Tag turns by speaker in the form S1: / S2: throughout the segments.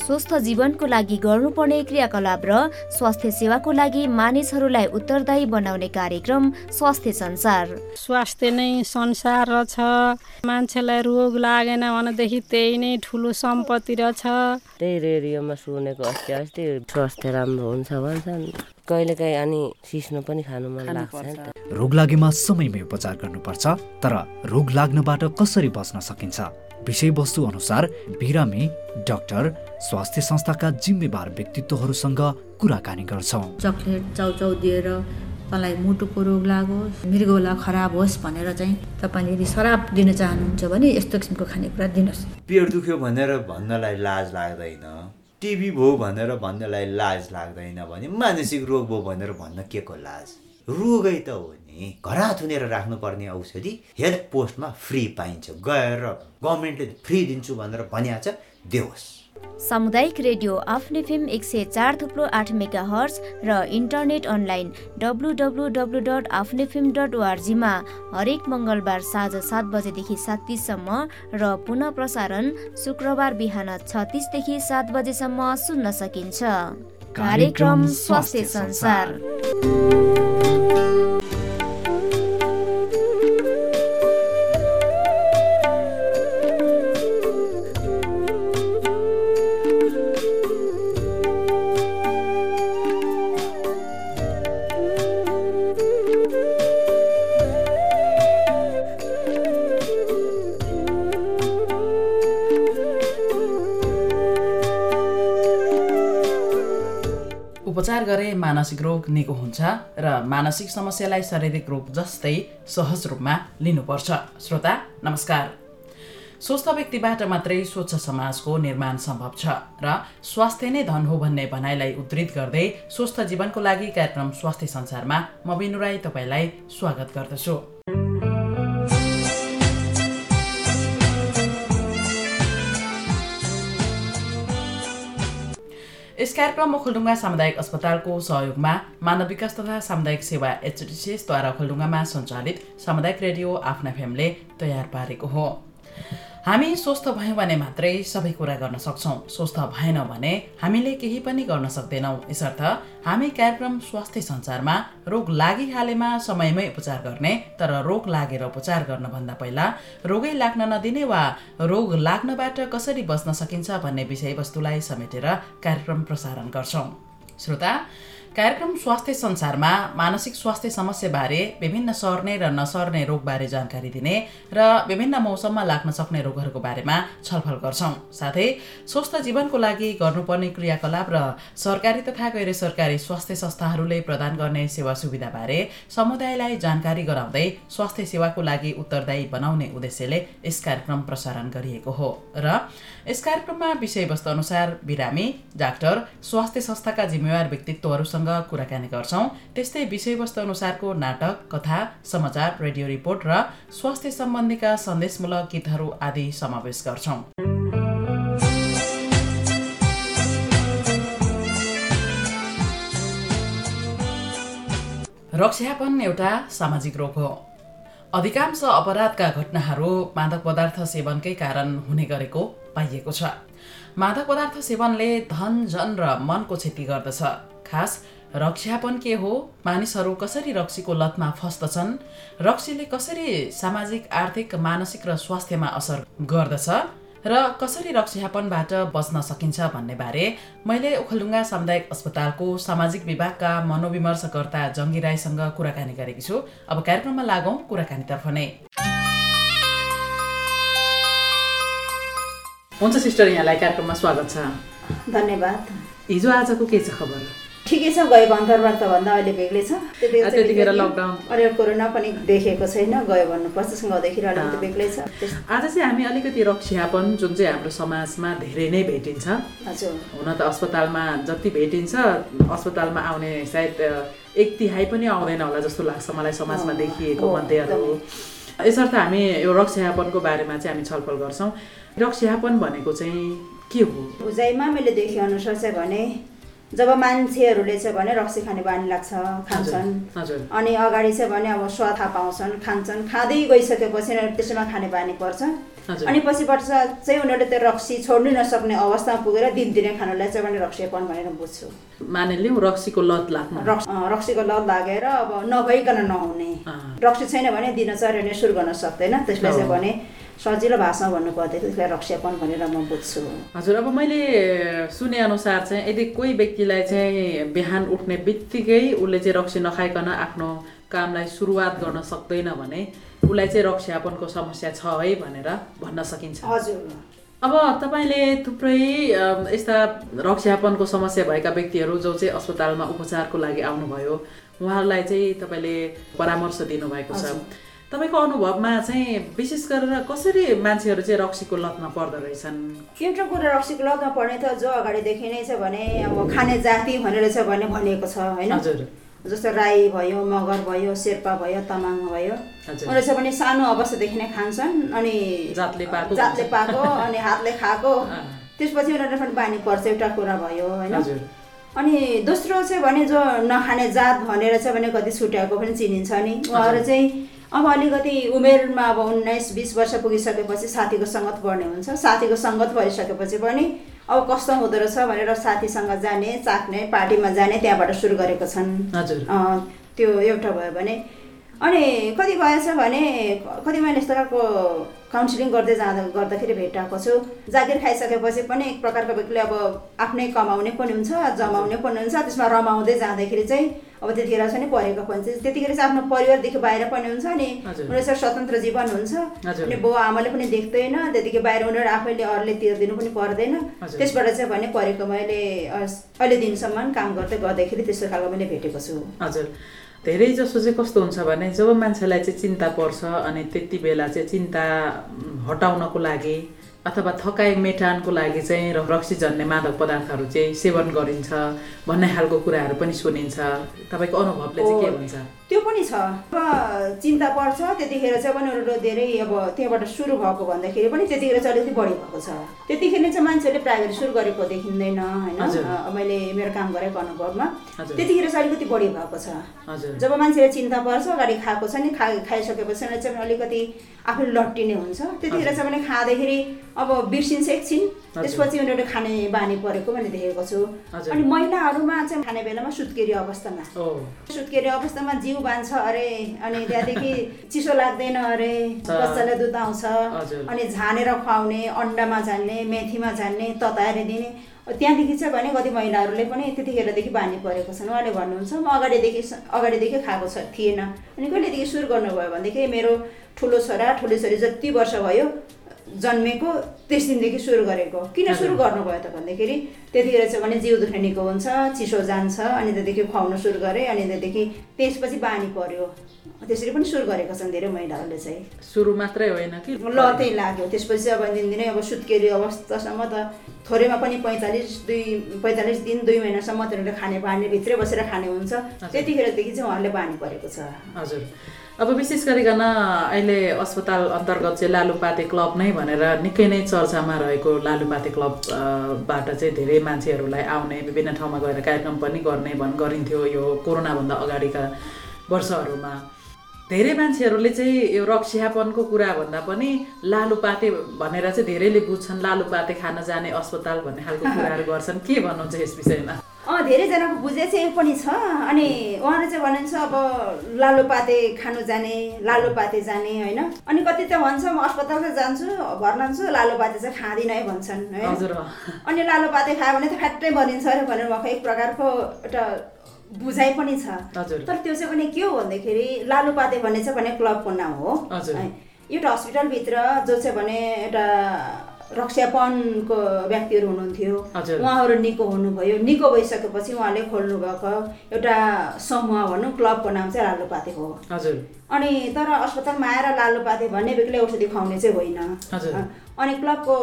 S1: स्वस्थ जीवनको लागि गर्नुपर्ने क्रियाकलाप र स्वास्थ्य सेवाको लागि मानिसहरूलाई उत्तरदायी बनाउने कार्यक्रम स्वास्थ्य संसार
S2: स्वास्थ्य नै संसार रहेछ मान्छेलाई रोग लागेन भनेदेखि त्यही नै ठुलो सम्पत्ति रहेछ
S3: त्यही रेडियोमा सुनेको अस्ति अस्ति स्वास्थ्य राम्रो हुन्छ भन्छन् कहिलेकाहीँ अनि सिस्नो पनि खानु मन लाग्छ नि त
S4: रोग लागेमा समयमै उपचार गर्नुपर्छ तर रोग लाग्नबाट कसरी बच्न सकिन्छ विषयवस्तु अनुसार बिरामी डाक्टर स्वास्थ्य संस्थाका जिम्मेवार व्यक्तित्वहरूसँग कुराकानी गर्छौँ
S5: चक्लेट चाउचाउ दिएर तँलाई मुटुको रोग लागोस् मृगौला खराब होस् भनेर चाहिँ तपाईँले यदि शराब दिन चाहनुहुन्छ भने यस्तो किसिमको खानेकुरा दिनुहोस्
S6: पेट दुख्यो भनेर भन्नलाई लाज लाग्दैन टिबी भयो भनेर भन्नलाई लाज लाग्दैन भने मानसिक रोग भयो भनेर भन्न के को लाज रोगै त हो नि घरा थुनेर राख्नुपर्ने औषधि हेल्थ पोस्टमा फ्री पाइन्छ गएर गभर्मेन्टले फ्री दिन्छु भनेर भनिहाल्छ देओस्
S1: सामुदायिक रेडियो आफ्नो फिल्म एक सय चार थुप्रो आठ मेगा हर्स र internet online W W W dot आफ्नो फिल्म डट ओआरजीमा हरेक मङ्गलबार साँझ सात बजेदेखि सात तिससम्म र पुनः प्रसारण शुक्रबार बिहान छ तिसदेखि सात बजेसम्म सुन्न सकिन्छ कार्यक्रम स्वास्थ्य संसार
S7: उपचार गरे मानसिक रोग निको हुन्छ र मानसिक समस्यालाई शारीरिक रोग जस्तै सहज रूपमा लिनुपर्छ श्रोता नमस्कार स्वस्थ व्यक्तिबाट मात्रै स्वच्छ समाजको निर्माण सम्भव छ र स्वास्थ्य नै धन हो भन्ने भनाइलाई उद्धित गर्दै स्वस्थ जीवनको लागि कार्यक्रम स्वास्थ्य संसारमा म बिनु राई तपाईँलाई स्वागत गर्दछु यस कार्यक्रम ओखलडुङ्गा सामुदायिक अस्पतालको सहयोगमा मानव विकास तथा सामुदायिक सेवा एचडिसिएसद्वारा ओखलडुङ्गामा सञ्चालित सामुदायिक रेडियो आफ्ना फेमले तयार पारेको हो हामी स्वस्थ भयौँ भने मात्रै सबै कुरा गर्न सक्छौँ स्वस्थ भएन भने हामीले केही पनि गर्न सक्दैनौँ यसर्थ हामी कार्यक्रम स्वास्थ्य संसारमा रोग लागिहालेमा समयमै उपचार गर्ने तर रोग लागेर उपचार गर्नभन्दा पहिला रोगै लाग्न नदिने वा रोग लाग्नबाट कसरी बच्न सकिन्छ भन्ने विषयवस्तुलाई समेटेर कार्यक्रम प्रसारण गर्छौँ श्रोता कार्यक्रम स्वास्थ्य संसारमा मानसिक स्वास्थ्य समस्याबारे विभिन्न सर्ने र नसर्ने रोगबारे जानकारी दिने र विभिन्न मौसममा लाग्न सक्ने रोगहरूको बारेमा छलफल गर्छौँ साथै स्वस्थ जीवनको लागि गर्नुपर्ने क्रियाकलाप र सरकारी तथा गैर सरकारी स्वास्थ्य संस्थाहरूले प्रदान गर्ने सेवा सुविधाबारे समुदायलाई जानकारी गराउँदै स्वास्थ्य सेवाको लागि उत्तरदायी बनाउने उद्देश्यले यस कार्यक्रम प्रसारण गरिएको हो र यस कार्यक्रममा विषयवस्तु अनुसार बिरामी डाक्टर स्वास्थ्य संस्थाका जिम्मेवार व्यक्तित्वहरूसँग सँग कुराकानी गर्छौँ त्यस्तै विषयवस्तु अनुसारको नाटक कथा समाचार रेडियो रिपोर्ट र स्वास्थ्य सम्बन्धीका सन्देशमूलक गीतहरू आदि समावेश गर्छौँ रक्षापन एउटा सामाजिक रोग हो अधिकांश अपराधका घटनाहरू मादक पदार्थ सेवनकै कारण हुने गरेको पाइएको छ मादक पदार्थ सेवनले धन जन र मनको क्षति गर्दछ खास रक्षापन के हो मानिसहरू कसरी रक्सीको लतमा फस्दछन् रक्सीले कसरी सामाजिक आर्थिक मानसिक र स्वास्थ्यमा असर गर्दछ र कसरी रक्षापनबाट बच्न सकिन्छ भन्ने बारे मैले ओखलढुङ्गा सामुदायिक अस्पतालको सामाजिक विभागका मनोविमर्शकर्ता जङ्गी राईसँग कुराकानी गरेकी छु अब कार्यक्रममा लागौँ कुराकानीतर्फ नै हुन्छ सिस्टर यहाँलाई कार्यक्रममा स्वागत छ
S8: धन्यवाद
S7: हिजो आजको के छ खबर
S8: ठिकै छ गएको अन्तर्वार्ता भन्दा अहिले बेग्लै छ त्यतिखेर चाहिँ
S7: त्यतिखेर
S8: फेरि
S7: लकडाउन
S8: अहिले कोरोना पनि देखेको छैन गयो भन्नुपर्छ गाउँदाखेरि अलिकति बेग्लै छ त्यस-
S7: आज चाहिँ हामी अलिकति रक्षापन जुन चाहिँ हाम्रो समाजमा धेरै नै भेटिन्छ
S8: हजुर
S7: हुन त अस्पतालमा जति भेटिन्छ अस्पतालमा आउने सायद अ, एक तिहाई पनि आउँदैन होला जस्तो लाग्छ मलाई समाजमा देखिएको
S8: हो,
S7: मध्येहरू हो यसर्थ हामी यो रक्षापनको बारेमा चाहिँ हामी छलफल गर्छौँ रक्षापन भनेको चाहिँ के हो
S8: उजाइमा मैले देखेअनुसार चाहिँ भने जब मान्छेहरूले चाहिँ भने रक्सी खाने बानी लाग्छ खान्छन्
S7: हजुर
S8: अनि अगाडि चाहिँ भने अब स्वाथा पाउँछन् खान्छन् खाँदै गइसकेपछि नै त्यसमा खाने बानी पर्छ
S7: हजुर।
S9: अनि पछिबाट चाहिँ उनीहरूले त्यो रक्सी छोड्नु नसक्ने अवस्थामा पुगेर दिनदिनै खानुलाई चाहिँ मैले रक्सीपन भनेर बुझ्छु
S7: मानेलिउँ रक्सीको लत लाग्नु
S9: रक्स अँ, रक्सीको लत लागेर अब नभइकन नहुने
S7: अँ।
S9: रक्सी छैन भने दिनचर्याले सुरु गर्न सक्दैन त्यसलाई चाहिँ भने सजिलो भाषामा भन्नु पर्दैन त्यसलाई रक्सीपन भनेर म बुझ्छु
S7: हजुर अब मैले सुनेअनुसार चाहिँ यदि कोही व्यक्तिलाई चाहिँ बिहान उठ्ने बित्तिकै उसले चाहिँ रक्सी नखाइकन आफ्नो कामलाई सुरुवात गर्न सक्दैन भने उसलाई चाहिँ रक्सीयापनको समस्या छ है भनेर भन्न सकिन्छ
S9: हजुर
S7: अब तपाईँले थुप्रै अम, यस्ता रक्षापनको समस्या भएका व्यक्तिहरू जो चाहिँ अस्पतालमा उपचारको लागि आउनुभयो उहाँहरूलाई चाहिँ तपाईँले परामर्श दिनुभएको छ तपाईँको अनुभवमा चाहिँ विशेष गरेर कसरी मान्छेहरू चाहिँ रक्सीको लतमा पर्दो रहेछन्
S9: एउटा कुरा रक्सीको लतमा पर्ने त जो अगाडिदेखि नै छ भने अब खाने जाति भनेर छ भने भनिएको छ होइन
S7: हजुर
S9: जस्तो राई भयो मगर भयो शेर्पा भयो तामाङ भयो
S7: हजुर।
S9: उनीहरू चाहिँ पनि सानो अवस्थादेखि नै खान्छन् अनि
S7: जातले पाएको
S9: जातले
S7: खान्छन्।
S9: पाएको अनि हातले खाएको
S7: अँ।
S9: त्यसपछि उनीहरूले पनि बानी पर्छ एउटा कुरा भयो होइन
S7: हजुर
S9: अनि दोस्रो चाहिँ भने जो नखाने जात भनेर चाहिँ भने कति छुट्याएको पनि चिनिन्छ नि उहाँहरू चाहिँ अब अलिकति उमेरमा अब उन्नाइस बिस वर्ष पुगिसकेपछि साथीको सङ्गत बढ्ने हुन्छ साथीको सङ्गत भइसकेपछि पनि अब कस्तो हुँदो रहेछ भनेर साथीसँग जाने चाख्ने पार्टीमा जाने त्यहाँबाट सुरु गरेको छन्
S7: हजुर
S9: अँ, त्यो एउटा भयो भने अनि कति भएछ भने कति मैले यस्तो खालको काउन्सिलिङ गर्दै जाँदा गर्दाखेरि भेटाएको छु जागिर खाइसकेपछि पनि एक प्रकारको व्यक्तिले अब आफ्नै कमाउने पनि हुन्छ जमाउने पनि हुन्छ त्यसमा रमाउँदै जाँदाखेरि चाहिँ अब त्यतिखेर चाहिँ नि परेको पनि छ। त्यतिखेर चाहिँ आफ्नो परिवारदेखि बाहिर पनि हुन्छ अनि
S7: हजुर।
S9: उनीहरू चाहिँ स्वतन्त्र जीवन हुन्छ
S7: हजुर।
S9: अनि बाउ आमाले पनि देख्दैन त्यतिकै बाहिर उनीहरू आफैले अरूले तिरिदिनु पनि पर्दैन
S7: हजुर।
S9: त्यसबाट चाहिँ भने परेको मैले अस- अहिले दिनसम्म काम गर्दै गर्दाखेरि त्यस्तो खालको मैले भेटेको छु
S7: हजुर धेरै जसो चाहिँ कस्तो हुन्छ भने जब मान्छेलाई चाहिँ चिन्ता पर्छ अनि त्यति बेला चाहिँ चिन्ता उम्, हटाउनको लागि अथवा थकाइ मेटानको लागि चाहिँ र- रक्सी जन्ने मादक पदार्थहरू चाहिँ सेवन गरिन्छ भन्ने खालको कुराहरू पनि सुनिन्छ तपाईँको अनुभवले चाहिँ के
S9: हो।
S7: हुन्छ
S9: त्यो पनि छ अब चिन्ता पर्छ त्यतिखेर चाहिँ पनि उनीहरू धेरै अब त्यहाँबाट सुरु भएको भन्दाखेरि पनि त्यतिखेर चाहिँ अलिकति बढी भएको छ त्यतिखेर नै चाहिँ मान्छेहरूले प्राइभेट सुरु गरेको देखिँदैन होइन
S7: हजुर।
S9: अ, मैले मेरो काम गरेको अनुभवमा
S7: हजुर।
S9: त्यतिखेर चाहिँ अलिकति बढी भएको छ
S7: हजुर
S9: जब मान्छेलाई चिन्ता पर्छ अगाडि खाएको छ नि खा खाइसकेपछि उनीहरू चाहिँ अलिकति आफू लट्टिने हुन्छ त्यतिखेर चाहिँ मैले खाँदाखेरि अब बिर्सिन्छ एकछिन त्यसपछि उनीहरूले खाने बानी परेको मैले देखेको छु
S7: हजुर।
S9: अनि महिलाहरूमा चाहिँ खाने बेलामा सुत्केरी अवस्थामा
S7: ओ
S9: सुत्केरी अवस्थामा जिउ बान्छ अरे अनि त्यहाँदेखि चिसो लाग्दैन अरे बच्चालाई दुध आउँछ
S7: हजुर।
S9: अनि झानेर खुवाउने अन्डामा झान्ने मेथीमा झान्ने तताएर दिने त्यहाँदेखि चाहिँ भने कति महिलाहरूले पनि त्यतिखेरदेखि बानी परेको छन् उहाँले भन्नुहुन्छ म अगाडिदेखि स- अगाडिदेखि खाएको छ थिएन अनि कहिलेदेखि सुरु गर्नुभयो भनेदेखि मेरो ठुलो छोरा ठुलो छोरी जति वर्ष भयो जन्मेको त्यस दिनदेखि सुरु गरेको किन सुरु गर्नुभयो त भन्दाखेरि त्यतिखेर चाहिँ भने जिउ दुख्ने निको हुन्छ चिसो जान्छ अनि त्यहाँदेखि खुवाउन सुरु गरेँ अनि त्यहाँदेखि त्यसपछि बानी पर्यो त्यसरी पनि सुरु गरेका छन् धेरै महिलाहरूले चाहिँ
S7: सुरु मात्रै होइन कि
S9: लतै लाग्यो त्यसपछि अब दिनदिनै अब सुत्केरी अवस्थासम्म त थोरैमा पनि पैँतालिस दुई पैँतालिस दिन दुई महिनासम्म तिनीहरूले खाने बानी भित्रै बसेर खाने हुन्छ त्यतिखेरदेखि चाहिँ उहाँहरूले बानी परेको छ
S7: हजुर अब विशेष गरिकन अहिले अस्पताल अन्तर्गत चाहिँ लालुपाते क्लब नै भनेर निकै नै चर्चामा रहेको लालुपाते क्लब अ, बाट चाहिँ धेरै मान्छेहरूलाई आउने विभिन्न ठाउँमा गएर कार्यक्रम पनि गर्ने भन् गरिन्थ्यो यो कोरोनाभन्दा अगाडिका वर्षहरूमा धेरै मान्छेहरूले चाहिँ यो रक्सियापनको कुरा भन्दा पनि लालुपाते भनेर चाहिँ धेरैले बुझ्छन् लालुपाते खान जाने अस्पताल भन्ने खालको कुराहरू गर्छन् के भन्नुहुन्छ यस विषयमा
S9: अँ धेरैजनाको बुझे चाहिँ यो पनि छ अनि उहाँले चाहिँ भन्नुहुन्छ अब लालुपाते खानु जाने लालुपाते जाने होइन अनि कति त भन्छ म अस्पताल चाहिँ जान्छु भर्नान्छु लालुपाते चाहिँ खाँदिनँ है भन्छन् है
S7: हजुर अँ।
S9: अनि लालुपाते खायो भने त फ्याट्टै बनिन्छ अरे भनेर उहाँको एक प्रकारको एउटा बुझाइ पनि छ
S7: हजुर
S9: तर त्यो चाहिँ भने के हो भन्दाखेरि लालुपाते भन्ने चाहिँ भने क्लबको नाउँ हो
S7: हजुर।
S9: है। एउटा हस्पिटलभित्र जो चाहिँ भने एउटा रक्षापनको व्यक्तिहरू हुनुहुन्थ्यो
S7: हजुर।
S9: उहाँहरू निको हुनुभयो निको भइसकेपछि उहाँले खोल्नु भएको एउटा समूह भनौँ क्लबको नाम चाहिँ लालुपाते हो
S7: हजुर
S9: अनि तर अस्पतालमा आएर लालुपाते भन्ने बेग्लै औषधि खुवाउने चाहिँ होइन
S7: हजुर
S9: अनि क्लबको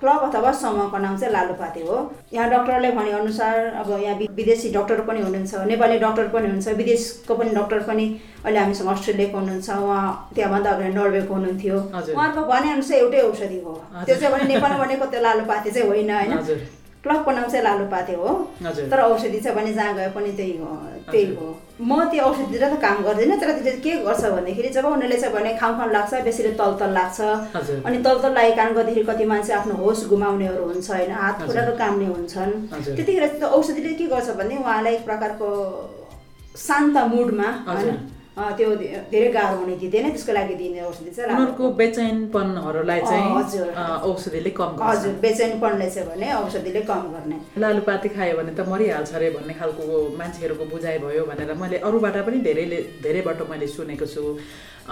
S9: क्लब अथवा समूहको नाम चाहिँ लालुपाते हो यहाँ डक्टरले भनेअनुसार अब यहाँ वि- विदेशी डक्टर पनि हुनुहुन्छ नेपाली डक्टर पनि हुनुहुन्छ विदेशको पनि डक्टर पनि अहिले हामीसँग अस्ट्रेलियाको हुनुहुन्छ उहाँ त्यहाँभन्दा अगाडि नर्वेको हुनुहुन्थ्यो
S7: हजुर।
S9: उहाँहरूको भनेअनुसार एउटै औषधि हो त्यो चाहिँ भने नेपालमा भनेको त्यो लालुपाते चाहिँ होइन होइन
S7: हजुर
S9: क्लबको नाम चाहिँ लालुपाते हो
S6: हजुर।
S9: तर औषधि चाहिँ भने जहाँ गए पनि त्यही हो त्यही हो म त्यो औषधितिर त काम गर्दिनँ तर त्यसले के गर्छ भन्दाखेरि जब उनीहरूले चाहिँ भने खाउँ खाउँ लाग्छ बेसीले तल तल लाग्छ
S6: हजुर।
S9: अनि तल तल लागि कारण गर्दाखेरि कति मान्छे आफ्नो होस गुमाउनेहरू हुन्छ होइन हात खुलाको कामले हुन्छन्
S6: हजुर।
S9: त्यतिखेर त्यो औषधिले के गर्छ भने उहाँलाई एक प्रकारको शान्त मुडमा होइन अँ, त्यो धे- धेरै गाह्रो हुने दिँदैन त्यसको लागि दिने औषधि चाहिँ राम्रो
S7: उनीहरूको बेचैनपनहरूलाई चाहिँ
S9: अँ, हजुर।
S7: अँ, औषधिले कम गर्छ
S9: हजुर बेचैनपनले चाहिँ भने औषधिले कम गर्ने
S7: लालुपाती खायो भने त मरिहाल्छ अरे भन्ने खालको मान्छेहरूको बुझाइ भयो भनेर मैले अरूबाट पनि धेरैले धेरैबाट मैले सुनेको छु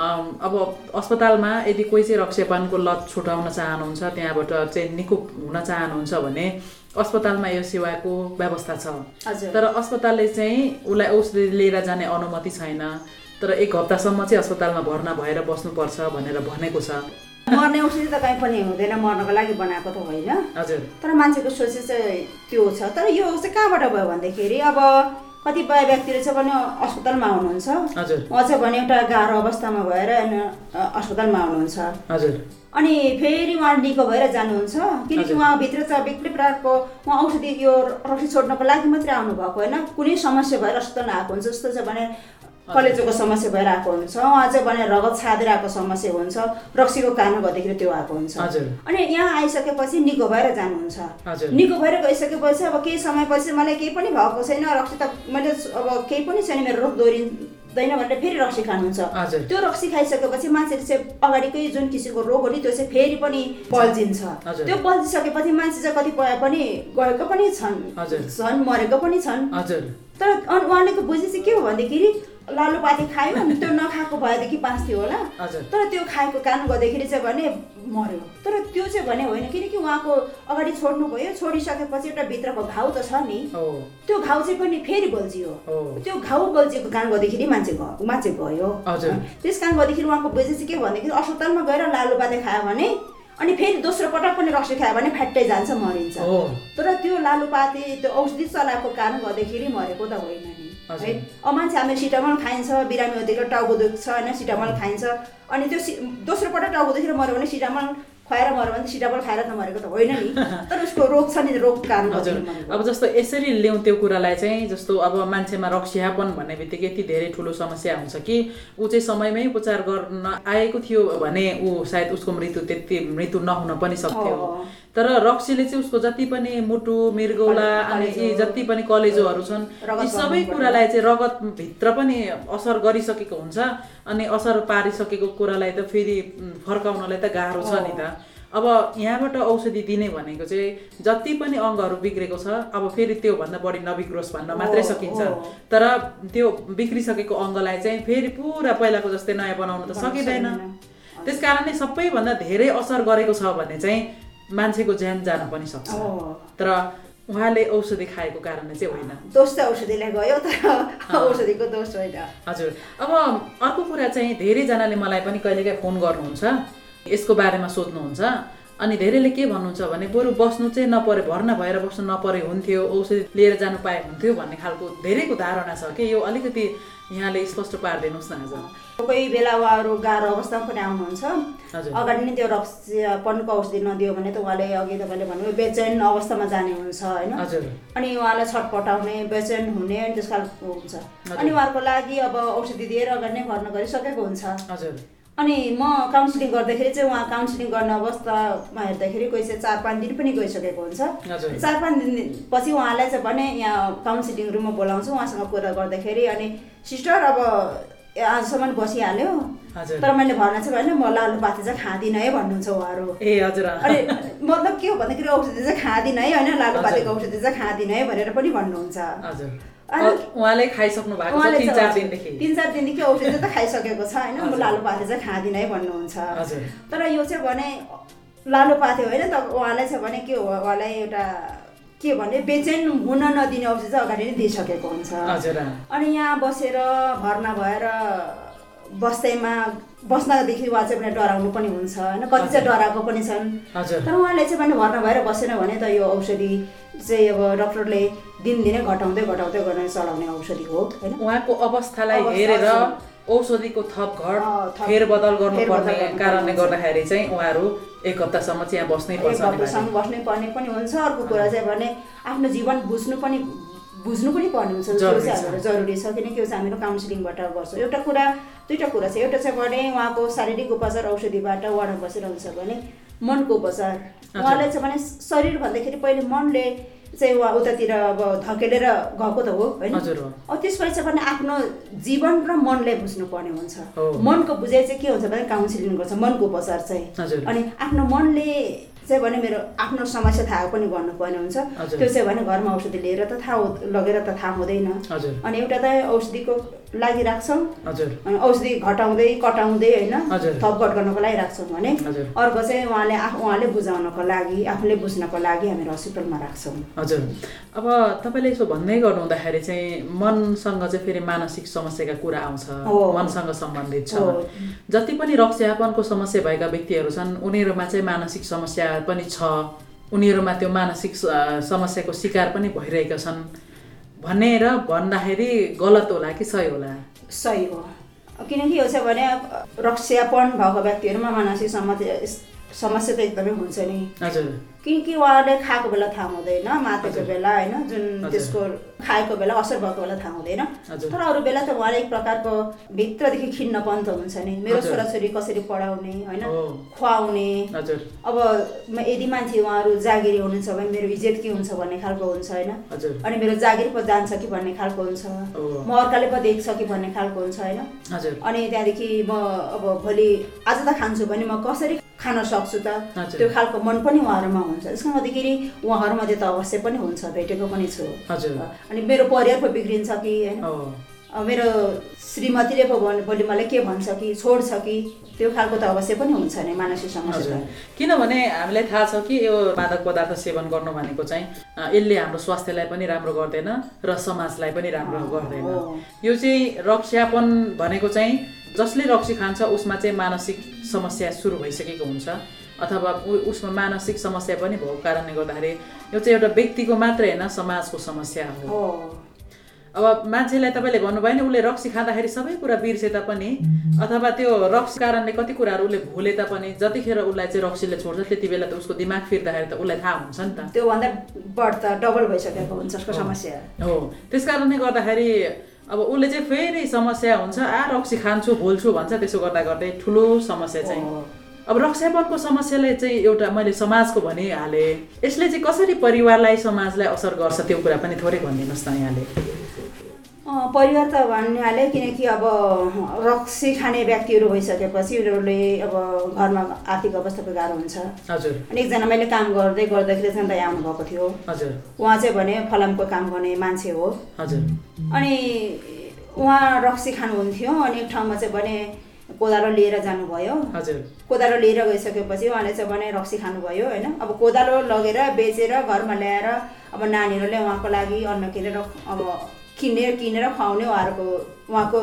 S7: अम, अब अस्पतालमा यदि कोही चाहिँ रक्सेपानको लत छुटाउन चाहनुहुन्छ त्यहाँबाट चाहिँ निको हुन चाहनुहुन्छ भने अस्पतालमा यो सेवाको व्यवस्था छ
S9: हजुर।
S7: तर अस्पतालले चाहिँ उसलाई औषधि लिएर जाने अनुमति छैन तर एक हप्तासम्म चाहिँ अस्पतालमा भर्ना भएर बस्नुपर्छ भनेर भनेको छ
S9: मर्ने औषधि त कहीँ पनि हुँदैन मर्नको लागि बनाएको त होइन
S7: हजुर
S9: तर मान्छेको सोचे चाहिँ त्यो छ तर यो चाहिँ कहाँबाट भयो भन्दाखेरि अब कतिपय व्यक्तिले चाहिँ भने अस्पतालमा आउनुहुन्छ
S7: हजुर।
S9: उहाँ चाहिँ भने एउटा गाह्रो अवस्थामा भएर होइन, अ, अस्पतालमा आउनुहुन्छ
S7: हजुर
S9: अनि फेरि उहाँ निको भएर जानुहुन्छ किनकि उहाँभित्र चाहिँ बेग्लै प्रकारको उहाँ औषधि यो रक्सी छोड्नको लागि मात्रै आउनुभएको होइन कुनै समस्या भएर अस्पतालमा आएको हुन्छ जस्तो चाहिँ भने कलेजोको समस्या भएर आएको हुन्छ उहाँ चाहिँ भने रगत छादेर आएको समस्या हुन्छ रक्सीको कारणले गर्दाखेरि त्यो आएको हुन्छ
S7: हजुर।
S9: अनि यहाँ आइसकेपछि निको भएर जानुहुन्छ
S7: हजुर।
S9: निको भएर गइसकेपछि अब केही समयपछि मलाई केही पनि भएको छैन रक्सी त मैले अब केही पनि छैन मेरो रोग दोहोरिँदैन भनेर फेरि रक्सी खानुहुन्छ
S7: हजुर।
S9: त्यो रक्सी खाइसकेपछि मान्छेले चाहिँ अगाडिकै जुन किसिमको रोग हो नि त्यो चाहिँ फेरि पनि बल्झिन्छ
S7: हजुर।
S9: त्यो बल्झिसकेपछि मान्छे चाहिँ कतिपय पनि गएको पनि छन्
S7: हजुर।
S9: छन् मरेको पनि छन्
S7: हजुर
S9: तर अनि उहाँलेको बुझे चाहिँ के हो भन्दाखेरि लालुपाती खायो अनि त्यो नखाएको भएदेखि बाँच्थ्यो होला
S7: हजुर।
S9: तर त्यो खाएको कारण गर्दाखेरि चाहिँ भने मर्यो तर त्यो चाहिँ भने होइन किनकि उहाँको अगाडि छोड्नु भयो छोडिसकेपछि एउटा भित्रको घाउ त छ नि
S7: हो
S9: त्यो घाउ चाहिँ पनि फेरि बल्झियो
S7: हो।
S9: त्यो घाउ बल्झिएको कारण गर्दाखेरि मान्छे ग- मान्छे गयो
S7: हजुर।
S9: त्यस कारण गर्दाखेरि उहाँको बेजे चाहिँ के भन्दाखेरि अस्पतालमा गएर लालुपाते खायो भने अनि फेरि दोस्रो पटक पनि रक्सी खायो भने फ्याट्टै जान्छ मरिन्छ
S7: हो।
S9: तर त्यो लालुपाते त्यो औषधि चलाएको कारण गर्दाखेरि मरेको त होइन नि है
S7: हजुर।
S9: अब मान्छे हामीले सिटामल खाइन्छ बिरामी हुँदाखेरि टाउको दुख्छ होइन सिटामल खाइन्छ अनि त्यो सि- दोस्रो पटक टाउको दुखेर मऱ्यो भने सिटामल खुवाएर मऱ्यो भने सिटामल खाएर त मरेको त होइन नि तर उसको रोग छ नि रोग कारण
S7: हजुर
S9: गर्दाखेरि मरेको।
S7: अब जस्तो यसरी ल्याउँ त्यो कुरालाई चाहिँ जस्तो अब मान्छेमा रक्सियापन भन्ने बित्तिकै यति धेरै ठुलो समस्या हुन्छ कि ऊ चाहिँ समयमै उपचार गर्न आएको थियो भने ऊ सायद उसको मृत्यु त्यति मृत्यु नहुन पनि सक्थ्यो
S9: हो।
S7: तर रक्सीले चाहिँ उसको जति पनि मुटु मृगौला अनि यी जति पनि कलेजोहरू छन्
S9: रगत
S7: यी सबै
S9: बगाउनु
S7: कुरालाई चाहिँ रगतभित्र पनि असर गरिसकेको हुन्छ अनि असर पारिसकेको कुरालाई त फेरि उम्, फर्काउनलाई त गाह्रो छ नि त अब यहाँबाट औषधि दिने भनेको चाहिँ जति पनि अङ्गहरू बिग्रेको छ अब फेरि त्योभन्दा बढी नबिग्रोस् भन्न मात्रै सकिन्छ तर त्यो बिग्रिसकेको अङ्गलाई चाहिँ फेरि पुरा पहिलाको जस्तै नयाँ बनाउन त सकिँदैन त्यस कारणले सबैभन्दा धेरै असर गरेको छ भने चाहिँ मान्छेको ज्यान जान पनि सक्छ तर उहाँले औषधि खाएको कारणले चाहिँ होइन
S9: दोष त औषधिलाई गयो तर औषधिको दोष होइन
S7: हजुर अब अर्को कुरा चाहिँ धेरैजनाले मलाई पनि कहिलेकाहीँ फोन गर्नुहुन्छ यसको बारेमा सोध्नुहुन्छ अनि धेरैले के भन्नुहुन्छ भने बरु बस्नु चाहिँ नपरे भर्ना भएर बस्नु नपरे हुन्थ्यो औषधि लिएर जानु पाए हुन्थ्यो भन्ने खालको धेरैको धारणा छ कि यो अलिकति यहाँले स्पष्ट पारिदिनुहोस् न आज
S9: कोही बेला उहाँहरू गाह्रो अवस्थामा पनि आउनुहुन्छ
S7: हजुर।
S9: अगाडि नै त्यो रक्सीपनको औषधि नदियो भने त उहाँले अघि तपाईँले भन्नुभयो बेचैन अवस्थामा जाने हुन्छ होइन
S7: हजुर
S9: अनि उहाँलाई छटपटाउने बेचैन हुने अनि त्यस खालको हुन्छ अनि उहाँहरूको लागि अब औषधि दिएर अगाडि नै भर्ना गरिसकेको हुन्छ
S7: हजुर
S9: अनि म काउन्सिलिङ गर्दाखेरि चाहिँ उहाँ काउन्सिलिङ गर्ने अवस्थामा हेर्दाखेरि कोही चाहिँ चार पाँच दिन पनि गइसकेको हुन्छ
S7: हजुर।
S9: चार पाँच दिन पछि उहाँलाई चाहिँ भने यहाँ काउन्सिलिङ रुममा बोलाउँछु उहाँसँग कुरा गर्दाखेरि अनि सिस्टर अब आजसम्म बसिहाल्यो
S7: हजुर।
S9: तर मैले भन्न चाहिँ भने म लालुपाती चाहिँ खाँदिनँ है भन्नुहुन्छ उहाँहरू
S7: ए हजुर अँ।
S9: अनि मतलब के हो भन्दाखेरि औषधि चाहिँ खाँदिनँ है होइन लालुपातीको औषधि चाहिँ खाँदिनँ है भनेर पनि भन्नुहुन्छ
S7: हजुर
S9: अनि-
S7: अ- उहाँले खाइसक्नु भएको छ
S9: उहाँले
S7: तिन चार
S9: चाहिँ
S7: दिनदेखि
S9: तिन चार दिनदेखि औषधि त खाइसकेको छ होइन म लालुपाते चाहिँ खाँदिनँ है भन्नुहुन्छ
S7: हजुर।
S9: तर यो चाहिँ भने लालुपाते होइन त उहाँलाई चाहिँ भने के हो उहाँलाई एउटा के भने बेचेन हुन नदिने औषधि चाहिँ अगाडि नै दिइसकेको हुन्छ
S7: हजुर अँ।
S9: अनि यहाँ बसेर भर्ना भएर बस्दैमा बस्नदेखि उहाँ चाहिँ भने डराउनु पनि हुन्छ होइन कति चाहिँ डराएको पनि छन्
S7: हजुर।
S9: तर उहाँले चाहिँ भने भर्ना भएर बसेन भने त यो औषधि चाहिँ अब डक्टरले दिनदिनै घटाउँदै घटाउँदै गरेर चलाउने औषधि हो होइन
S7: उहाँको अवस्थालाई
S9: अवस्था
S7: हेरेर
S9: छ।
S7: औषधिको थप घट
S9: अँ, थप-
S7: फेरबदल गर्नुपर्ने
S9: फेरबदल
S7: कारणले
S9: गर्नुपर्ने
S7: गर्दाखेरि चाहिँ उहाँहरू एक हप्तासम्म चाहिँ यहाँ बस्नै पर्छ
S9: एक
S7: अनिवार्य।
S9: हप्तासम्म बस्नै पर्ने पनि हुन्छ अर्को कुरा चाहिँ भने आफ्नो जीवन बुझ्नु पनि बुझ्नु पनि पर्ने हुन्छ त्यो
S7: जरुरी छ।
S9: चाहिँ हाम्रो जरुरी छ किनकि यो चाहिँ हामीहरू काउन्सिलिङबाट गर्छौँ एउटा कुरा दुईवटा कुरा छ एउटा चाहिँ भने उहाँको शारीरिक उपचार औषधिबाट वार्डमा बसिरहन्छ भने मनको उपचार उहाँलाई चाहिँ भने शरीर भन्दाखेरि पहिले मनले चाहिँ उहाँ उतातिर अब धकेलेर गएको त हो होइन
S7: हजुर हो।
S9: अब त्यसपछि चाहिँ भने आफ्नो जीवन र मनले बुझ्नुपर्ने हुन्छ
S7: हो।
S9: मनको बुझाइ चाहिँ के हुन्छ भने काउन्सिलिङ गर्छ मनको उपचार चाहिँ
S7: हजुर।
S9: अनि आफ्नो मनले चाहिँ भने मेरो आफ्नो समस्या थाहा पनि गर्नुपर्ने हुन्छ
S7: हजुर।
S9: त्यो चाहिँ भने घरमा औषधि लिएर त थाहा हुँ- लगेर त थाहा हुँदैन
S7: हजुर
S9: अनि एउटा त औषधिको लागि राख्छौँ
S7: हजुर
S9: अनि औषधि घटाउँदै कटाउँदै होइन
S7: हजुर।
S9: थपघट गर्नको लागि राख्छौँ भने
S7: हजुर।
S9: अर्को चाहिँ उहाँले आफ- उहाँले बुझाउनको लागि आफूले बुझ्नको लागि हामीहरू हस्पिटलमा राख्छौँ
S7: हजुर अब तपाईँले यसो भन्दै गर्नु हुँदाखेरि चाहिँ मनसँग चाहिँ फेरि मानसिक समस्याका कुरा आउँछ
S9: हो।
S7: मनसँग सम्बन्धित छ
S9: हो।
S7: जति पनि रक्स्यापनको समस्या भएका व्यक्तिहरू छन् उनीहरूमा चाहिँ मानसिक समस्या पनि छ उनीहरूमा त्यो मानसिक स- समस्याको शिकार पनि भइरहेका छन् भनेर भन्दाखेरि गलत होला कि सही होला
S9: सही हो किनकि यो चाहिँ भने अब रक्ष्यापन भएको व्यक्तिहरूमा मानसिक समस्या समस्या त एकदमै हुन्छ नि
S7: हजुर
S9: किनकि उहाँले खाएको बेला थाहा हुँदैन मातेको बेला होइन जुन
S7: हजुर।
S9: त्यसको खाएको बेला असर भएको बेला थाहा हुँदैन
S7: हजुर।
S9: तर अरू बेला त उहाँले एक प्रकारको भित्रदेखि खिन्नपन त हुन्छ नि मेरो
S7: हजुर।
S9: छोराछोरी कसरी पढाउने होइन
S7: हो।
S9: खुवाउने
S7: हजुर
S9: अब म- यदि मान्छे उहाँहरू जागिरी हुनुहुन्छ भने मेरो इज्जत के हुन्छ भन्ने खालको हुन्छ होइन
S7: हजुर
S9: अनि मेरो जागिर पो जान्छ कि भन्ने खालको हुन्छ
S7: हो।
S9: म अर्काले पो देख्छ कि भन्ने खालको हुन्छ होइन
S7: हजुर
S9: अनि त्यहाँदेखि म अब भोलि आज त खान्छु भने म कसरी खान सक्छु त
S7: हजुर।
S9: त्यो खालको मन पनि उहाँहरूमा हुन्छ त्यसको गर्दाखेरि उहाँहरूमध्ये त अवश्य पनि हुन्छ भेटेको पनि छु
S7: हजुर।
S9: अनि मेरो परिवार पो बिग्रिन्छ कि होइन
S7: हो
S9: अब मेरो श्रीमतीले पो भन् भोलि मलाई के भन्छ कि छोड्छ कि त्यो खालको त अवश्य पनि हुन्छ नि मानसिक समस्या
S7: हजुर
S9: त
S7: किनभने हामीलाई थाहा छ कि यो मादक पदार्थ सेवन गर्नु भनेको चाहिँ अ, यसले हाम्रो स्वास्थ्यलाई पनि राम्रो गर्दैन र समाजलाई पनि राम्रो गर्दैन
S9: हो।
S7: यो चाहिँ रक्स्यापन भनेको चाहिँ जसले रक्सी खान्छ उसमा चाहिँ मानसिक समस्या सुरु भइसकेको हुन्छ अथवा उ- उसमा मानसिक समस्या पनि भएको कारणले गर्दाखेरि यो चाहिँ एउटा व्यक्तिको मात्रै होइन समाजको समस्या हो
S9: हो
S7: अब मान्छेलाई तपाईँले भन्नुभयो नि उसले रक्सी खाँदाखेरि सबै कुरा बिर्से तापनि अथवा त्यो रक्सी कारणले कति कुराहरू उसले भुले तापनि जतिखेर उसलाई चाहिँ रक्सीले छोड्छ त्यति बेला त उसको दिमाग फिर्दाखेरि त उसलाई थाहा हुन्छ नि त
S9: त्योभन्दा बढ्ता डबल भइसकेको हुन्छ उसको समस्या
S7: हो त्यस कारणले गर्दाखेरि अब उसले चाहिँ फेरि समस्या हुन्छ आ रक्सी खान्छु भुल्छु भन्छ त्यसो गर्दा गर्दै ठुलो समस्या चाहिँ अब रक्सापनको समस्याले चाहिँ एउटा मैले समाजको भनिहालेँ यसले चाहिँ कसरी परिवारलाई समाजलाई असर गर्छ त्यो कुरा पनि थोरै भनिदिनुहोस् न यहाँले
S9: अँ, परिवार त भन्नाले किनकि अब रक्सी खाने व्यक्तिहरू भइसकेपछि उनीहरूले अब घरमा आर्थिक अवस्थाको गाह्रो हुन्छ
S7: हजुर
S9: अनि एकजना मैले काम गर्दै गर्दाखेरि चाहिँ दाइ आउनुभएको थियो
S7: हजुर
S9: उहाँ चाहिँ भने फलामको काम गर्ने मान्छे हो
S7: हजुर
S9: अनि उहाँ रक्सी खानुहुन्थ्यो अनि एक ठाउँमा चाहिँ भने कोदालो लिएर जानुभयो
S7: हजुर
S9: कोदालो लिएर गइसकेपछि उहाँले चाहिँ भने रक्सी खानुभयो होइन अब कोदालो लगेर बेचेर घरमा ल्याएर अब नानीहरूले उहाँको लागि अन्न किनेर अब किनेर किनेर खुवाउने उहाँहरूको उहाँको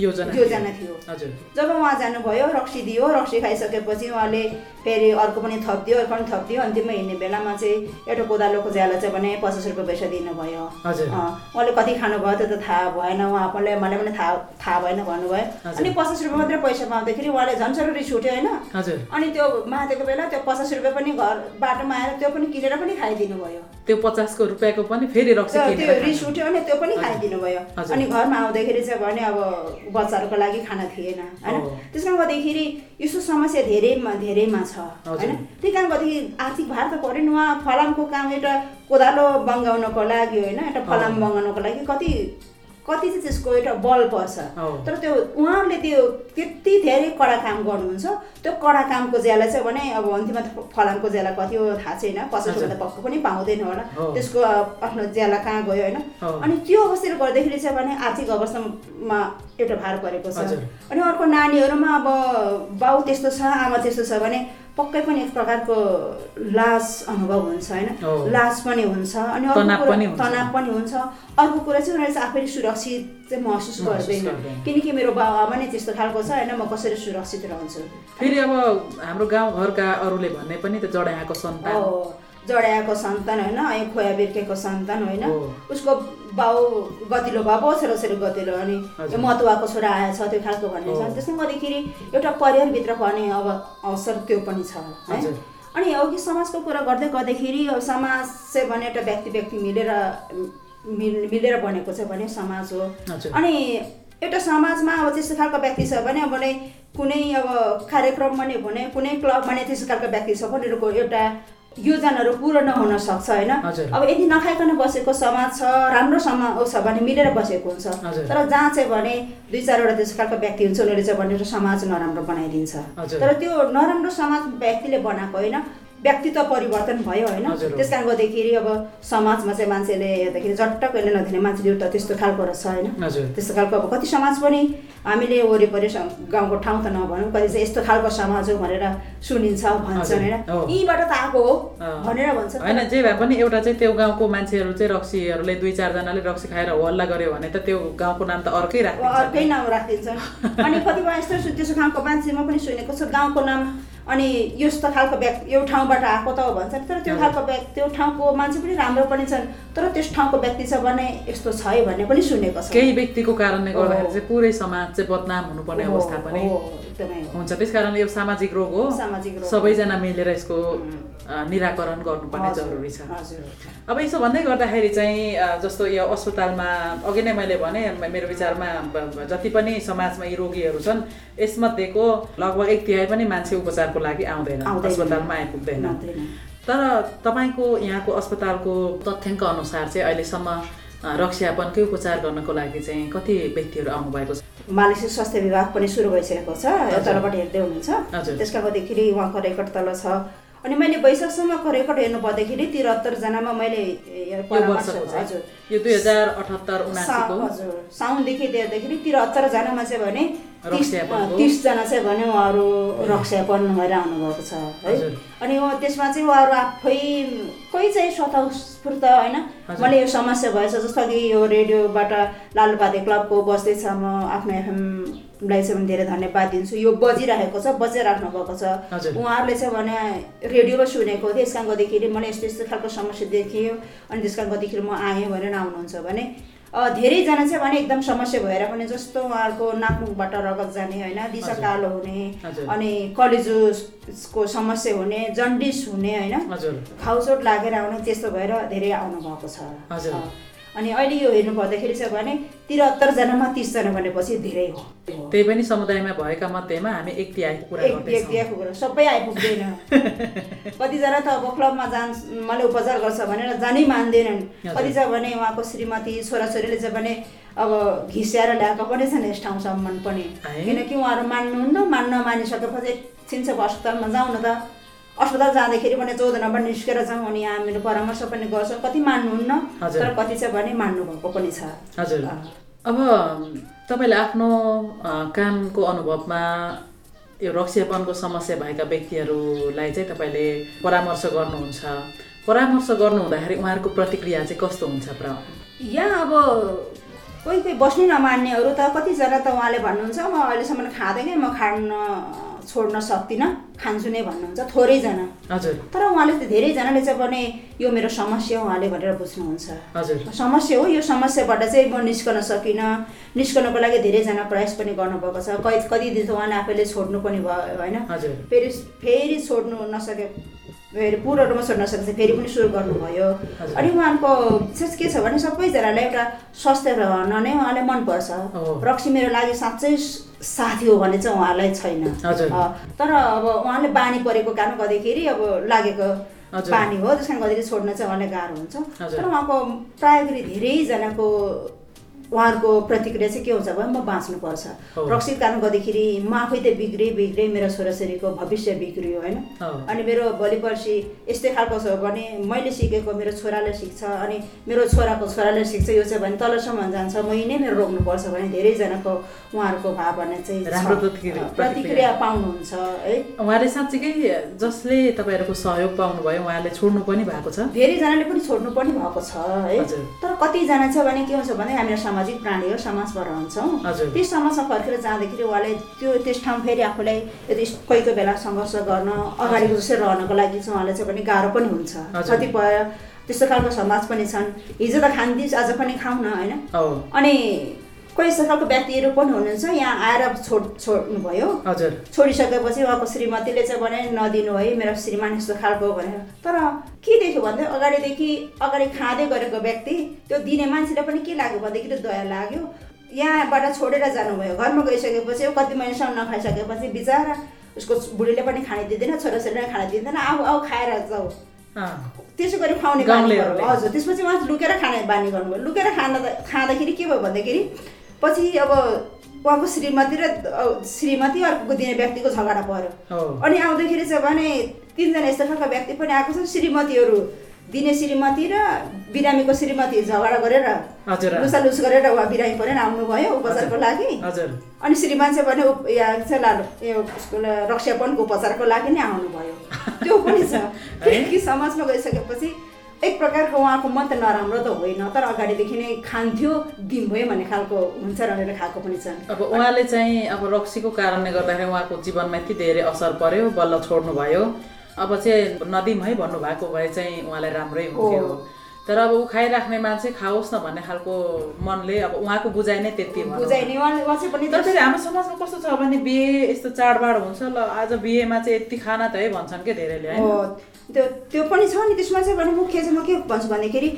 S7: योजना
S9: योजना थियो
S7: हजुर
S9: जब उहाँ जानुभयो रक्सी दियो रक्सी खाइसकेपछि उहाँले फेरि अर्को पनि थपिदियो अर्को पनि थपिदियो अन्तिममा हिँड्ने बेलामा चाहिँ एउटा कोदालोको ज्याला चाहिँ भने पचास रुपियाँ पैसा दिनुभयो
S7: हजुर।
S9: अँ, उहाँले कति खानुभयो त्यो त थाहा भएन उहाँ आफूले मलाई पनि थाहा थाहा भएन भन्नुभयो
S7: हजुर।
S9: अनि पचास रुपियाँ मात्रै पैसा पाउँदाखेरि उहाँले झन् जरुरी छुट्यो होइन
S7: हजुर
S9: अनि त्यो मातेको बेला त्यो पचास रुपियाँ पनि घर बाटोमा आएर त्यो पनि किनेर पनि खाइदिनु भयो
S7: त्यो पचासको रुपियाँको पनि फेरि रक्सी
S9: त्यो त्यो
S7: किनेर
S9: रिस उठ्यो भने त्यो पनि खाइदिनु भयो
S7: हजुर।
S9: अनि घरमा आउँदाखेरि चाहिँ भने अब बच्चाहरूको लागि खाना थिएन होइन
S7: हो।
S9: त्यस कारण गर्दाखेरि यस्तो समस्या धेरैमा धेरैमा छ
S7: हजुर।
S9: होइन त्यही कारण गर्दाखेरि आर्थिक भार त पऱ्यो नि उहाँ फलामको काम एउटा कोदालो बङ्गाउनको लागि होइन एउटा फलाम बङ्गाउनको लागि कति कति चाहिँ त्यसको एउटा बल पर्छ
S7: हो।
S9: तर त्यो उहाँहरूले त्यो त्यति धेरै कडा काम गर्नुहुन्छ त्यो कडा कामको ज्याला चाहिँ भने अब अन्तिममा त फलामको ज्याला कति हो थाहा छैन पचास रुपियाँ त पक्क पनि पाउँदैन होला
S7: हो।
S9: त्यसको अ- आफ्नो ज्याला कहाँ गयो होइन
S7: हो।
S9: अनि त्यो अवस्थाले गर्दाखेरि चाहिँ भने आर्थिक अवस्थामा एउटा भार परेको छ
S7: हजुर।
S9: अनि अर्को नानीहरूमा अब बाउ त्यस्तो छ आमा त्यस्तो छ भने पक्कै पनि एक प्रकारको लाज अनुभव हुन्छ होइन
S7: हो।
S9: लाज पनि हुन्छ अनि अर्को
S7: तनाव
S9: कुरा-
S7: पनि हुन्छ।
S9: तनाव पनि हुन्छ अर्को कुरा चाहिँ उनीहरूले चाहिँ आफैले सुरक्षित चाहिँ महसुस
S7: महसुस
S9: गर्दैन
S7: गर्दैन।
S9: किनकि मेरो बाबुआमा नै त्यस्तो खालको छ होइन म कसरी सुरक्षित रहन्छु
S7: फेरि अब हाम्रो गाउँघरका अरूले भन्ने पनि त जडाएको सन्तान
S9: हो जडाएको सन्तान होइन ऐ खोया बिर्केको सन्तान होइन उसको बाउ गतिलो भयो बसेर उसरी गतिलो अनि यो मतुवाको छोरा आएछ त्यो खालको भन्ने छ त्यसमा गर्दाखेरि एउटा परिवारभित्र पर्ने अब अवसर त्यो पनि छ है अनि अघि समाजको कुरा गर्दै गर्दाखेरि अब समाज चाहिँ भने एउटा व्यक्ति व्यक्ति मिलेर मिल- मिलेर बनेको चाहिँ भने समाज हो अनि एउटा समाजमा अब त्यस्तो खालको व्यक्ति छ भने अब नै कुनै अब कार्यक्रममा नै भने कुनै क्लबमा नै त्यस्तो खालको व्यक्ति छ भने उनीहरूको एउटा योजनाहरू पुरो नहुन सक्छ होइन अब यदि नखाइकन बसेको समाज छ राम्रो समाज छ भने मिलेर बसेको हुन्छ तर जहाँ चाहिँ भने दुई चारवटा त्यस्तो खालको व्यक्ति हुन्छ उनीहरूले चाहिँ भने एउटा समाज नराम्रो बनाइदिन्छ तर त्यो नराम्रो समाज व्यक्तिले बनाएको होइन व्यक्तित्व परिवर्तन भयो होइन त्यस कारण गर्दाखेरि अब समाजमा चाहिँ मान्छेले हेर्दाखेरि झट्ट कहिले नदिने मान्छेले एउटा त्यस्तो खालको रहेछ होइन त्यस्तो खालको अब कति समाज पनि हामीले वरिपरि स- गाउँको ठाउँ त नभनौँ कति चाहिँ यस्तो खालको समाज हो भनेर सुनिन्छ भन्छन् होइन
S7: हो।
S9: यहीँबाट त आएको हो
S7: अँ।
S9: भनेर भन्छ
S7: होइन जे भए पनि एउटा चाहिँ त्यो गाउँको मान्छेहरू चाहिँ रक्सीहरूले दुई चारजनाले रक्सी खाएर हल्ला गर्यो भने त त्यो गाउँको नाम त अर्कै
S9: अब अर्कै
S7: राख्छ
S9: नाम राखिदिन्छन् अनि कतिपय यस्तो सु- त्यसो खालको मान्छे म पनि सुनेको छु गाउँको नाम अनि यस्तो खालको व्यक्ति यो ठाउँबाट आएको त हो भन्छन् तर त्यो खालको व्यक्ति त्यो ठाउँको मान्छे पनि राम्रो पनि छन् तर त्यस ठाउँको व्यक्ति छ भने यस्तो छ है भन्ने पनि सुनेको छ
S7: केही व्यक्तिको कारणले गर्दाखेरि चाहिँ पुरै समाज चाहिँ बदनाम हुनुपर्ने अवस्था पनि
S9: एकदमै हो
S7: हुन्छ त्यस कारणले यो सामाजिक रोग हो
S9: सामाजिक रोग।
S7: सबैजना मिलेर यसको अ, निराकरण गर्नुपर्ने जरुरी छ
S9: हजुर
S7: अब यसो भन्दै गर्दाखेरि चाहिँ अ, जस्तो यो अस्पतालमा अघि नै मैले भने म- मेरो विचारमा ब- ब- जति पनि समाजमा यी रोगीहरू छन् यसमध्येको लगभग एक तिहाई पनि मान्छे उपचारको लागि आउँदैन
S9: आउँदैन।
S7: अस्पतालमा आइपुग्दैन
S9: आउँदैन।
S7: तर तपाईँको यहाँको अस्पतालको तथ्याङ्क अनुसार चाहिँ अहिलेसम्म अ, रक्सियापनकै उपचार गर्नको लागि चाहिँ कति व्यक्तिहरू आउनुभएको छ
S9: मानसिक स्वास्थ्य विभाग पनि सुरु भइसकेको छ यो तलबाट हेर्दै हुनुहुन्छ
S7: हजुर।
S9: त्यसका गर्दाखेरि उहाँको रेकर्ड तल छ अनि मैले वैशाखसम्मको रेकर्ड हेर्नु पर्दाखेरि तिहत्तरजनामा मैले ए,
S7: यो
S9: परामर्श-
S7: वर्षको चाहिँ
S9: हजुर
S7: यो दुई हजार अठहत्तर उनासीको
S9: सा- हजुर साउनदेखि हेर्दाखेरि तिहत्तरजनामा चाहिँ भने तिस-
S7: रक्सियापनको।
S9: तिसजना चाहिँ भने उहाँहरू रक्सापन भएर आउनुभएको छ है
S7: हजुर।
S9: अनि उहाँ- त्यसमा चाहिँ उहाँहरू आफै कोही चाहिँ स्वतस्फूर्त होइन मलाई यो समस्या भएछ जस्तो कि यो रेडियोबाट लालुपाते क्लबको बस्दैछ म आफ्नो एफएमलाई चाहिँ म धेरै धन्यवाद दिन्छु यो बजिराखेको छ बजाइराख्नु भएको छ
S7: हजुर।
S9: उहाँहरूले चाहिँ भने रेडियोमा सुनेको थिएँ त्यस कारण गर्दाखेरि मलाई यस्तो यस्तो खालको समस्या देखियो अनि त्यस कारण गर्दाखेरि म आएँ भनेर आउनुहुन्छ भने अ, धेरैजना चाहिँ भने एकदम समस्या भएर पनि जस्तो उहाँहरूको नाकमुखबाट रगत जाने होइन दिशा कालो हुने
S7: हजुर।
S9: अनि कलेजोको समस्या हुने जन्डिस हुने होइन
S7: हजुर
S9: खाउचोट लागेर आउने त्यस्तो भएर धेरै आउनु भएको छ
S7: हजुर।
S9: अ, अनि अहिले यो हेर्नु पर्दाखेरि चाहिँ भने त्रिहत्तरजनामा तिसजना भनेपछि धेरै हो
S7: त्यही पनि समुदायमा भएका मध्येमा हामी एक तिहाईको कुरा
S9: एक व्यक्ति
S7: गर्दैछौँ
S9: आएको कुरा सबै आइपुग्दैन कतिजना त अब क्लबमा जान मलाई उपचार गर्छ भनेर जानै मान्दैनन्
S7: हजुर।
S9: कति चाहिँ भने उहाँको श्रीमती छोराछोरीले चाहिँ भने अब घिस्याएर ल्याएको पनि छन् यस ठाउँसम्म पनि
S7: है?
S9: किनकि उहाँहरू मान्नुहुन्न मान्न मानिसकेपछि एकछिन चाहिँ अब अस्पतालमा जाउँ न त अस्पताल जाँदाखेरि पनि चौध नम्बर निस्केर जाउँ अनि हामीले परामर्श पनि गर्छौँ कति मान्नुहुन्न
S7: हजुर।
S9: तर कति चाहिँ भने मान्नुभएको पनि छ
S7: हजुर
S9: अँ।
S7: अब तपाईँले आफ्नो अ, कामको अनुभवमा यो रक्सियापनको समस्या भएका व्यक्तिहरूलाई चाहिँ तपाईँले परामर्श गर्नुहुन्छ परामर्श गर्नु हुँदाखेरि उहाँहरूको प्रतिक्रिया चाहिँ कस्तो हुन्छ प्र
S9: यहाँ अब कोही कोही बस्नै नमान्नेहरू त कतिजना त उहाँले भन्नुहुन्छ म अहिलेसम्म खाँदैनै म खान छोड्न सक्दिनँ खान्छु नै भन्नुहुन्छ थोरैजना
S7: हजुर
S9: तर उहाँले त धेरैजनाले चाहिँ भने यो मेरो समस्या हो उहाँले भनेर बुझ्नुहुन्छ
S7: हजुर
S9: समस्या हो यो समस्याबाट चाहिँ म निस्कन सकिनँ निस्कनको लागि धेरैजना प्रयास पनि गर्नुभएको छ कै कति दिन त उहाँले आफैले छोड्नु पनि भयो होइन
S7: हजुर।
S9: फेरि फेरि छोड्नु नसके फेरि पूर्ण रूपमा छोड्न सकेपछि फेरि पनि सुरु गर्नुभयो अनि उहाँको विशेष के छ भने सबैजनालाई एउटा स्वास्थ्य रहन नै उहाँलाई मनपर्छ
S7: हो।
S9: रक्सी मेरो लागि साँच्चै साथी हो भने चाहिँ उहाँलाई छैन
S7: हजुर।
S9: अ, तर अब उहाँले बानी परेको कारण गर्दाखेरि अब लागेको
S7: हजुर।
S9: पानी हो त्यस कारण गर्दाखेरि छोड्न चाहिँ उहाँलाई गाह्रो हुन्छ
S7: हजुर।
S9: तर उहाँको प्राय गरी धेरैजनाको उहाँहरूको प्रतिक्रिया चाहिँ के हुन्छ भने म बाँच्नुपर्छ
S7: हो।
S9: रक्सी कारण गर्दाखेरि म आफै त बिग्रेँ बिग्रेँ मेरो छोराछोरीको भविष्य बिग्रियो होइन
S7: हो।
S9: अनि मेरो भोलि पर्सि यस्तै खालको छ भने मैले सिकेको मेरो छोराले सिक्छ अनि मेरो छोराको छोराले सिक्छ यो चाहिँ भने तलसम्म जान्छ म यी नै मेरो रोक्नुपर्छ भने धेरैजनाको उहाँहरूको भावना चाहिँ छ।
S7: राम्रो प्रतिक्रिया-
S9: प्रतिक्रिया पाउनुहुन्छ है
S7: उहाँले साँच्चीकै जसले तपाईँहरूको सहयोग पाउनुभयो उहाँले छोड्नु पनि भएको छ
S9: धेरैजनाले पनि छोड्नु पनि भएको छ है
S7: हजुर।
S9: तर कतिजना छ भने के हुन्छ भने हामीलाई सामाजिक प्राणी हो समाजमा रहन्छौँ
S7: हजुर।
S9: त्यस समाजमा फर्केर जाँदाखेरि उहाँलाई त्यो त्यस ठाउँ फेरि आफूलाई यदि कोही कोही बेला सङ्घर्ष गर्न अगाडिको जस्तै रहनको लागि चाहिँ उहाँलाई चाहिँ पनि गाह्रो पनि हुन्छ
S7: हजुर।
S9: कतिपय त्यस्तो खालको समाज पनि छन् हिजो त खान्थ्यौँ आज पनि खाउँ न होइन
S7: हो
S9: अनि कोही यस्तो खालको व्यक्तिहरू पनि हुनुहुन्छ यहाँ आएर छोड छोड्नुभयो
S7: हजुर
S9: छोडिसकेपछि उहाँको श्रीमतीले चाहिँ भने नदिनु है मेरो श्रीमान यस्तो खालको हो" भनेर तर के देख्यो भन्दा अगाडिदेखि अगाडि खाँदै गरेको व्यक्ति त्यो दिने मान्छेलाई पनि के लाग्यो भनेदेखि त दया लाग्यो यहाँबाट छोडेर जानुभयो घरमा गइसकेपछि ऊ कति महिनासम्म नखाइसकेपछि बिचरा उसको बुढीले पनि खान दिँदैन छोराछोरीले पनि खान दिँदैन आऊ आऊ खाएर जाऊ
S7: अँ,
S9: त्यसो गरी खुवाउने बानी
S7: गाउँलेहरूले।
S9: गर्नु हजुर त्यसपछि उहाँ लुकेर खाने बानी गर्नुभयो लुकेर खान खाँदाखेरि के भयो भन्दाखेरि पछि अब उहाँको श्रीमती र अ, श्रीमती अर्को दिने व्यक्तिको झगडा पर्यो
S7: हो
S9: अनि आउँदाखेरि चाहिँ भने तिनजना यस्तो खालको व्यक्ति पनि आएको छन् श्रीमतीहरू दिने श्रीमती र बिरामीको श्रीमती झगडा गरेर
S7: हजुर
S9: लुसालुस गरेर उहाँ बिरामी परेर आउनुभयो उपचारको लागि
S7: हजुर
S9: अनि श्रीमान चाहिँ भने उप- या चाहिँ लानु यो उसको ल- रक्षापनको उपचारको लागि नै आउनुभयो त्यो पनि छ किनकि समाजमा गइसकेपछि एक प्रकारको उहाँको मन त नराम्रो त होइन तर अगाडिदेखि नै खान्थ्यो दिम्भयो भन्ने खालको हुन्छ भनेर खाएको पनि छन्
S7: अब उहाँले चाहिँ अब रक्सीको कारणले गर्दाखेरि उहाँको जीवनमा यति धेरै असर पर्यो बल्ल छोड्नु भयो अब चाहिँ नदिम है भन्नुभएको भए चाहिँ उहाँलाई राम्रै हुन्थ्यो तर अब ऊ खाइराख्ने मान्छे खाओस् न भन्ने खालको मनले अब उहाँको बुझाइ नै त्यति भनौँ।
S9: बुझाइने उहाँ उहाँ चाहिँ पनि
S7: तर फेरि हाम्रो समाजमा कस्तो छ भने बिहे यस्तो चाडबाड हुन्छ ल आज बिहेमा चाहिँ यति खाना त है भन्छन् क्या धेरैले है
S9: हो त्यो त्यो पनि छ नि त्यसमा चाहिँ भने मुख्य चाहिँ म के भन्छु भन्दाखेरि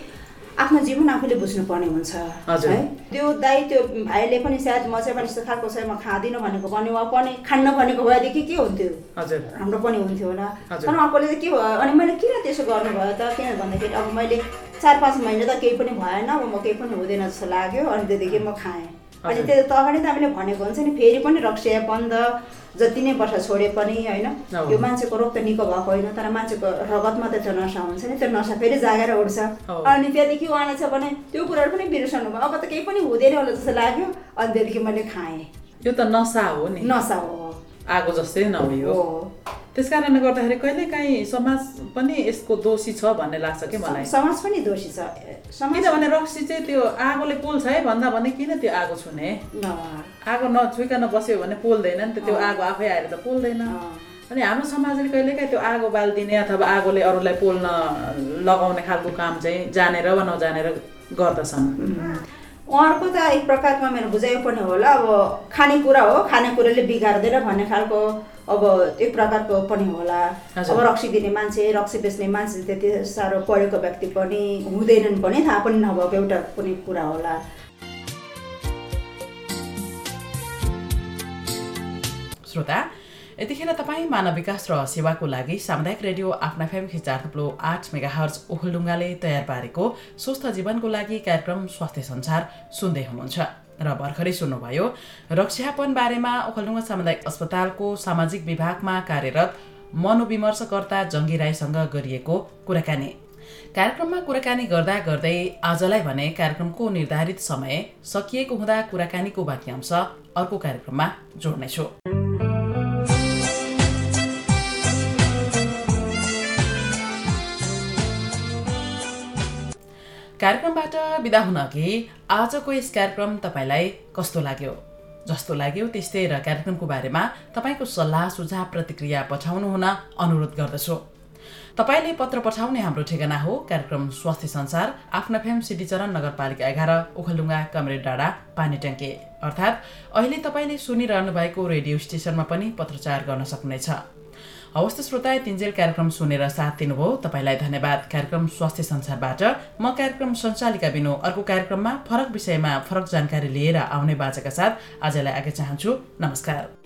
S9: आफ्नो जीवन आफूले बुझ्नुपर्ने हुन्छ
S7: हजुर।
S9: है त्यो दाइ त्यो भाइले पनि सायद म चाहिँ भने यस्तो खालको चाहिँ म खाँदिनँ भनेको भने वा पनि खान्न भनेको भएदेखि के हुन्थ्यो
S7: हजुर
S9: राम्रो पनि हुन्थ्यो होला
S7: हजुर।
S9: तर अर्कोले चाहिँ के भयो अनि मैले किन त्यसो गर्नुभयो त किन भन्दाखेरि अब मैले चार पाँच महिना त केही पनि भएन अब म केही पनि हुँदैन जस्तो लाग्यो अनि त्यहाँदेखि म खाएँ अनि
S7: हजुर।
S9: त्यो त अगाडि त हामीले भनेको हुन्छ नि फेरि पनि रक्सिया बन्द जति नै वर्ष छोडे पनि होइन
S7: हो।
S9: यो मान्छेको रोग त निको भएको होइन तर मान्छेको रगत मात्रै त्यो नसा हुन्छ नि त्यो नसा फेरि जागेर उठ्छ
S7: हो।
S9: अनि त्यहाँदेखि उहाँले चाहिँ भने त्यो कुराहरू पनि बिर्सनु भयो अब त केही पनि हुँदैन होला जस्तो लाग्यो अनि त्यहाँदेखि मैले खाएँ
S7: यो त नसा हो नि
S9: नसा हो
S7: आगो जस्तै नउयो
S9: हो
S7: त्यस कारणले गर्दाखेरि कहिले काहीँ समाज पनि यसको दोषी छ भन्ने लाग्छ कि मलाई
S9: समाज पनि दोषी छ समाज
S7: किनभने रक्सी चाहिँ त्यो आगोले पोल्छ है भन्दा भने किन त्यो आगो छुने
S9: न,
S7: आगो नछुइकन बस्यो भने पोल्दैन नि त त्यो आगो आफै आएर त पोल्दैन अनि हाम्रो समाजले कहिलेकाहीँ त्यो आगो बालिदिने अथवा आगोले अरूलाई पोल्न लगाउने खालको काम चाहिँ जानेर वा नजानेर गर्दछन्
S9: उहाँहरूको त एक प्रकारको मेरो बुझाइ पनि होला अब खानेकुरा हो खानेकुराले बिगार्दैन भन्ने खालको अब एक प्रकारको पनि होला
S7: हजुर।
S9: अब रक्सी दिने मान्छे रक्सी बेच्ने मान्छे त्यति साह्रो पढेको व्यक्ति पनि हुँदैनन् पनि थाहा पनि नभएको एउटा कुनै कुरा होला
S10: श्रोता यतिखेर तपाईँ मानव विकास र सेवाको लागि सामुदायिक रेडियो आफ्ना फ्यामिली चार थुप्लो आठ मेगा हर्च ओखलडुङ्गाले तयार पारेको स्वस्थ जीवनको लागि कार्यक्रम स्वास्थ्य संसार सुन्दै हुनुहुन्छ र भर्खरै सुन्नुभयो रक्षापन बारेमा ओखलडुङ्गा सामुदायिक अस्पतालको सामाजिक विभागमा कार्यरत मनोविमर्शकर्ता जङ्गी राईसँग गरिएको कुराकानी कार्यक्रममा कुराकानी गर्दा गर्दै आजलाई भने कार्यक्रमको निर्धारित समय सकिएको हुँदा कुराकानीको वाक्यांश अर्को कार्यक्रममा जोड्नेछु कार्यक्रमबाट बिदा हुन अघि आजको यस कार्यक्रम तपाईँलाई कस्तो लाग्यो जस्तो लाग्यो त्यस्तै र कार्यक्रमको बारेमा तपाईँको सल्लाह सुझाव प्रतिक्रिया पठाउनुहुन अनुरोध गर्दछु तपाईँले पत्र पठाउने हाम्रो ठेगाना हो कार्यक्रम स्वास्थ्य संसार आफ्ना फेम सिद्धिचरण नगरपालिका एघार ओखलडुङ्गा कमरे डाँडा पानीट्याङ्के अर्थात् अहिले तपाईँले सुनिरहनु भएको रेडियो स्टेसनमा पनि पत्रचार गर्न सक्नेछ हवस् त श्रोता तिन्जेल कार्यक्रम सुनेर साथ दिनुभयो तपाईँलाई धन्यवाद कार्यक्रम स्वास्थ्य संसारबाट म कार्यक्रम सञ्चालिका बिनु अर्को कार्यक्रममा फरक विषयमा फरक जानकारी लिएर आउने बाचाका साथ आजलाई आगे चाहन्छु नमस्कार